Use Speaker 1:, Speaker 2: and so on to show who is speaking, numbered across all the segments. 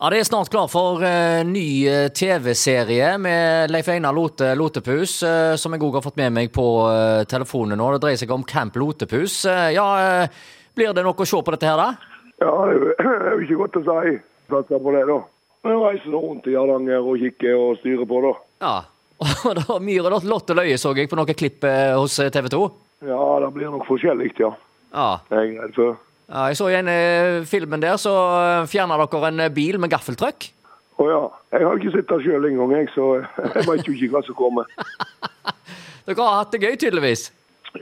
Speaker 1: Ja, Det er snart klar for eh, ny eh, TV-serie med Leif Einar Lote Lotepus, eh, som jeg òg har fått med meg på eh, telefonen nå. Det dreier seg om Camp Lotepus. Eh, ja, eh, Blir det nok å se på dette her, da?
Speaker 2: Ja, det er jo ikke godt å si. Satser på det, da. Men reiser nå rundt i Hardanger og kikker og styrer på, da.
Speaker 1: Ja. Og det var Myhre og Lotte Løye så jeg på noen klipp eh, hos TV 2.
Speaker 2: Ja, det blir nok forskjellig, ja.
Speaker 1: Ja.
Speaker 2: Det er jeg redd for.
Speaker 1: ja. Jeg så i en eh, filmen der, så fjerna dere en eh, bil med gaffeltrøkk.
Speaker 2: Å ja. Jeg har ikke sett det sjøl engang, jeg, så jeg veit jo ikke hva som kommer.
Speaker 1: Dere har hatt det gøy, tydeligvis.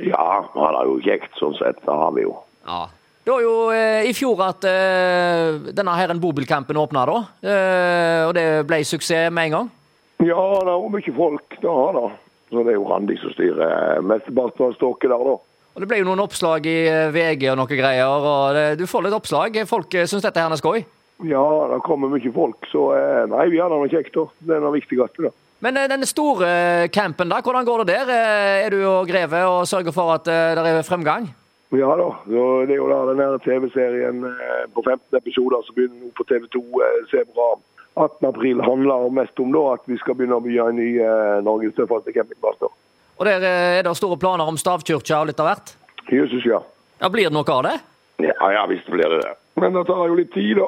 Speaker 2: Ja, han er jo kjekt, sånn sett. Det har vi jo.
Speaker 1: Ja. Det var jo eh, i fjor at eh, denne her en bobilcampen åpna, da. Eh, og det ble suksess med en gang.
Speaker 2: Ja, det er jo mye folk. Det har det. Så det er jo Randi som styrer mesteparten av stokket der, da.
Speaker 1: Og det ble jo noen oppslag i eh, VG og noen greier. og det, Du får litt oppslag. Folk eh, syns dette her er skøy.
Speaker 2: Ja, det kommer mye folk, så eh, nei, vi har det nå kjekt, da. Det er det viktigste, da.
Speaker 1: Men eh, den store eh, campen, da, hvordan går det der? Eh, er du og Greve og sørger for at eh, det er fremgang?
Speaker 2: Ja da. Så det er jo da den her TV-serien eh, på 15 episoder som begynner nå på TV 2 eh, Sebra 18. april handler mest om da at vi skal begynne å bygge en ny eh, Norges tøffeste campingplass. da.
Speaker 1: Og der eh, er det store planer om stavkirka og litt av hvert?
Speaker 2: Jesus, ja.
Speaker 1: Ja, Blir det noe av det?
Speaker 2: Ja, ja visst blir det det. Men det tar jo litt tid, da.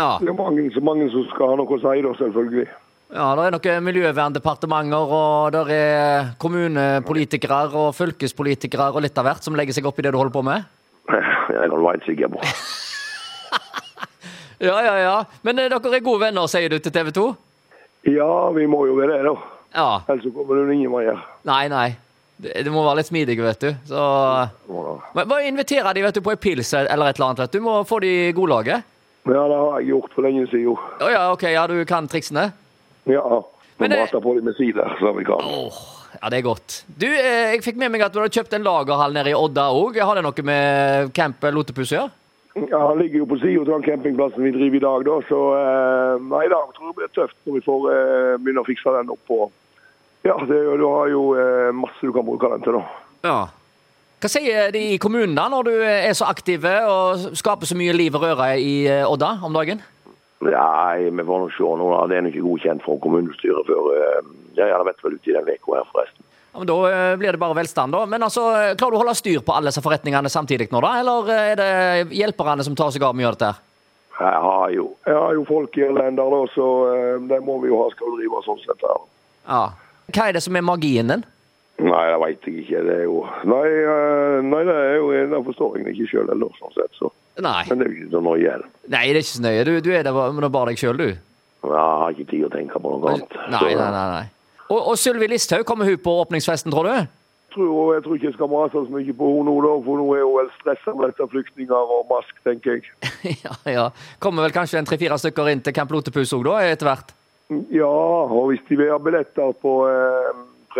Speaker 1: Ja.
Speaker 2: Det er mange, så mange som skal ha noe å si, da, selvfølgelig.
Speaker 1: Ja, Det er noen miljøverndepartementer, og der er kommunepolitikere og fylkespolitikere og litt av hvert som legger seg opp i det du holder på med?
Speaker 2: Jeg er helt sikker på.
Speaker 1: Ja, ja, ja. Men eh, dere er gode venner, sier du til TV 2?
Speaker 2: Ja, vi må jo være det, da.
Speaker 1: Ja.
Speaker 2: Ellers så kommer det ingen veier.
Speaker 1: Nei, nei. Det- Du må være litt smidig, vet du. Så Men Bare inviter de vet du, på en pils eller et eller annet. vet Du Du må få de i godlaget.
Speaker 2: Ja, det har jeg gjort for lenge siden. jo.
Speaker 1: Å ja, OK, ja, du kan triksene?
Speaker 2: Ja. Vi
Speaker 1: Men det-
Speaker 2: mater på dem med sider, så vi kan.
Speaker 1: Åh, ja, det er godt. Du, eh, jeg fikk med meg at du hadde kjøpt en lagerhall nede i Odda òg. Har det noe med Camp Lotepus å gjøre?
Speaker 2: Ja, Han ligger jo på sida av den campingplassen vi driver i dag, da. Så eh, nei, i dag tror jeg det blir tøft når vi får eh, begynne å fikse den opp. Og, ja, det, er jo- du har jo eh, masse du kan bruke den til, da.
Speaker 1: Ja. Hva sier de i kommunen da, når du eh, er så aktive og skaper så mye liv og røre i eh, Odda om dagen?
Speaker 2: Nei, vi får nå se nå. da. Det er nå ikke godkjent for kommunestyret før eh, ja, ja, det vet vel uti den uka her, forresten.
Speaker 1: Ja, men Da eh, blir det bare velstand, da. Men altså, eh, klarer du å holde styr på alle disse forretningene samtidig nå, da? Eller eh, er det hjelperne som tar seg av med å gjøre dette? her?
Speaker 2: Jeg har jo, jeg har jo folk i Irlander, da, så eh, det må vi jo ha skal vi drive sånn sett. her.
Speaker 1: Ja. Hva er det som er magien din?
Speaker 2: Nei, det veit jeg ikke. Det er jo Nei, eh, nei det er jo Det forstår jeg ikke sjøl heller, sånn sett. Så.
Speaker 1: Nei,
Speaker 2: Men det er jo ikke så nøye. er det.
Speaker 1: Nei det er ikke så nøye. Du, du er der bare- men det er bare deg sjøl, du.
Speaker 2: Jeg har ikke tid å tenke på noe
Speaker 1: Nei,
Speaker 2: annet.
Speaker 1: nei,
Speaker 2: Så-
Speaker 1: nei. nei. Og, og Sylvi Listhaug, kommer hun på åpningsfesten, tror du?
Speaker 2: tror, jeg tror ikke jeg skal mase så mye på henne nå, da, for nå er hun vel stressa med dette flyktninger og mask, tenker jeg.
Speaker 1: ja, ja. Kommer vel kanskje en tre-fire stykker inn til Camp Lotepus òg, da, etter hvert?
Speaker 2: Ja, og hvis de vil ha billetter på eh,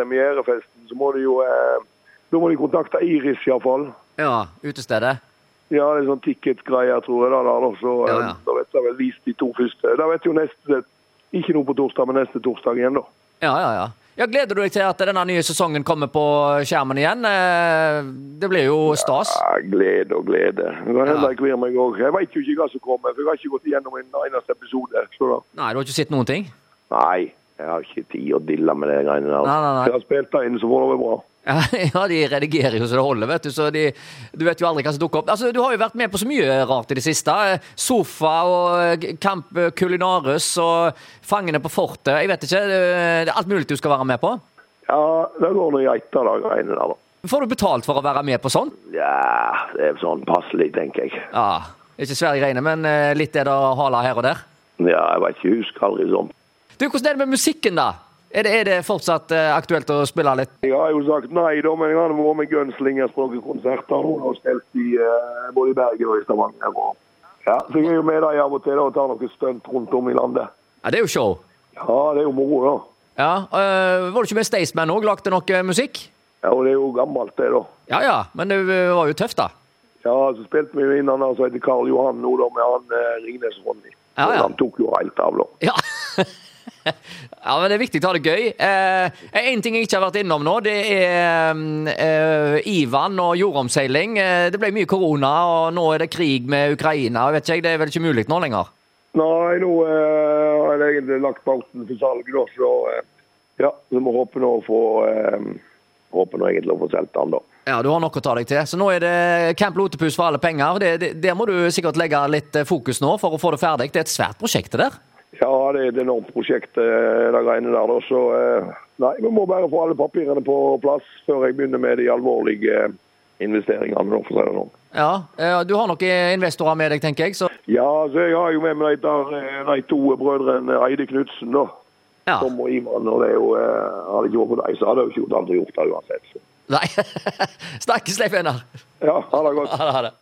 Speaker 2: premierefesten, så må de jo eh, Da må de kontakte Iris, iallfall.
Speaker 1: Ja, utestedet.
Speaker 2: Ja, det er sånn ticketgreier, tror jeg. Da, da, da. Så eh,
Speaker 1: Ja, ja.
Speaker 2: da vet jeg vel vist de to første. Da vet jeg jo neste Ikke nå på torsdag, men neste torsdag igjen, da.
Speaker 1: Ja, ja, ja. Ja, Gleder du deg til at denne nye sesongen kommer på skjermen igjen? Eh, Det blir jo stas.
Speaker 2: Ja, glede og glede. Det kan hende
Speaker 1: Ja.
Speaker 2: jeg kvir meg òg. Jeg veit jo ikke hva som kommer, for jeg har ikke gått igjennom en eneste episode. Så da.
Speaker 1: Nei, du har ikke sett noen ting?
Speaker 2: Nei, jeg har ikke tid å dille med de greiene der.
Speaker 1: Nei, nei, nei.
Speaker 2: Jeg har spilt det inn, så får det være bra.
Speaker 1: Ja, ja, de redigerer jo så det holder, vet du. Så de, du vet jo aldri hva som dukker opp. Altså, Du har jo vært med på så mye rart i det siste. Eh, Sofa og eh, Camp Culinarus og Fangene på fortet. Jeg vet ikke. eh, Det er alt mulig du skal være med på.
Speaker 2: Ja, det går nå i ett av de greiene der, da.
Speaker 1: Får du betalt for å være med på sånn?
Speaker 2: Ja, det er sånn passelig, tenker jeg.
Speaker 1: Ja, Ikke svære greiene, men eh, litt er det å hale her og der.
Speaker 2: Ja, jeg vet ikke, husker aldri sånn.
Speaker 1: Du, Hvordan er det med musikken, da? Er det, er det fortsatt eh, aktuelt å spille litt?
Speaker 2: Jeg har jo sagt nei, da, men jeg har vært med Gønslinger på noen konserter nå, og spilt i eh, både i Bergen og i Stavanger. Og, ja, så jeg er jo med dem av og til da, og tar noen stunt rundt om i landet.
Speaker 1: Ja, det er jo show.
Speaker 2: Ja, det er jo moro, da.
Speaker 1: Ja, øh, Var du ikke med Staysman òg? Lagde noe musikk?
Speaker 2: Ja, og det er jo gammelt, det, da.
Speaker 1: Ja ja, men det øh, var jo tøft, da.
Speaker 2: Ja, så spilte vi jo inn han der som heter Karl Johan nå, da, med han eh, Ringnes-Ronny.
Speaker 1: Ja, ja.
Speaker 2: Han tok jo helt av, da.
Speaker 1: Ja. ja, men det er viktig å ha det gøy. Eh, en ting jeg ikke har vært innom nå, det er eh, Ivan og jordomseiling. Eh, det ble mye korona, og nå er det krig med Ukraina. Jeg vet ikke, Det er vel ikke mulig nå lenger?
Speaker 2: Nei, nå eh, har jeg egentlig lagt bauten for salg, da, så eh, ja, så må jeg håpe nå å få eh, Håper nå egentlig å få solgt den, da.
Speaker 1: Ja, du har nok å ta deg til. Så nå er det Camp Lotepus for alle penger. Det, det, der må du sikkert legge litt eh, fokus nå for å få det ferdig. Det er et svært prosjekt det der.
Speaker 2: Ja, det er et enormt prosjekt, eh, det greiene der, da, så eh, Nei, vi må bare få alle papirene på plass før jeg begynner med de alvorlige eh, investeringene, da, for å si det sånn.
Speaker 1: Ja, eh, Du har noen investorer med deg, tenker jeg. Så
Speaker 2: Ja, så jeg har jo med meg de, der, eh, de to brødrene Eide Knutsen, da.
Speaker 1: ja.
Speaker 2: Tom og Ivan. Og det er jo, eh, hadde ikke vært for dem, så hadde jeg jo ikke gjort alt og gjort det uansett. Så.
Speaker 1: Nei. Snakkes, Leif Einar.
Speaker 2: Ja, ha det godt.
Speaker 1: Ha det. Ha det.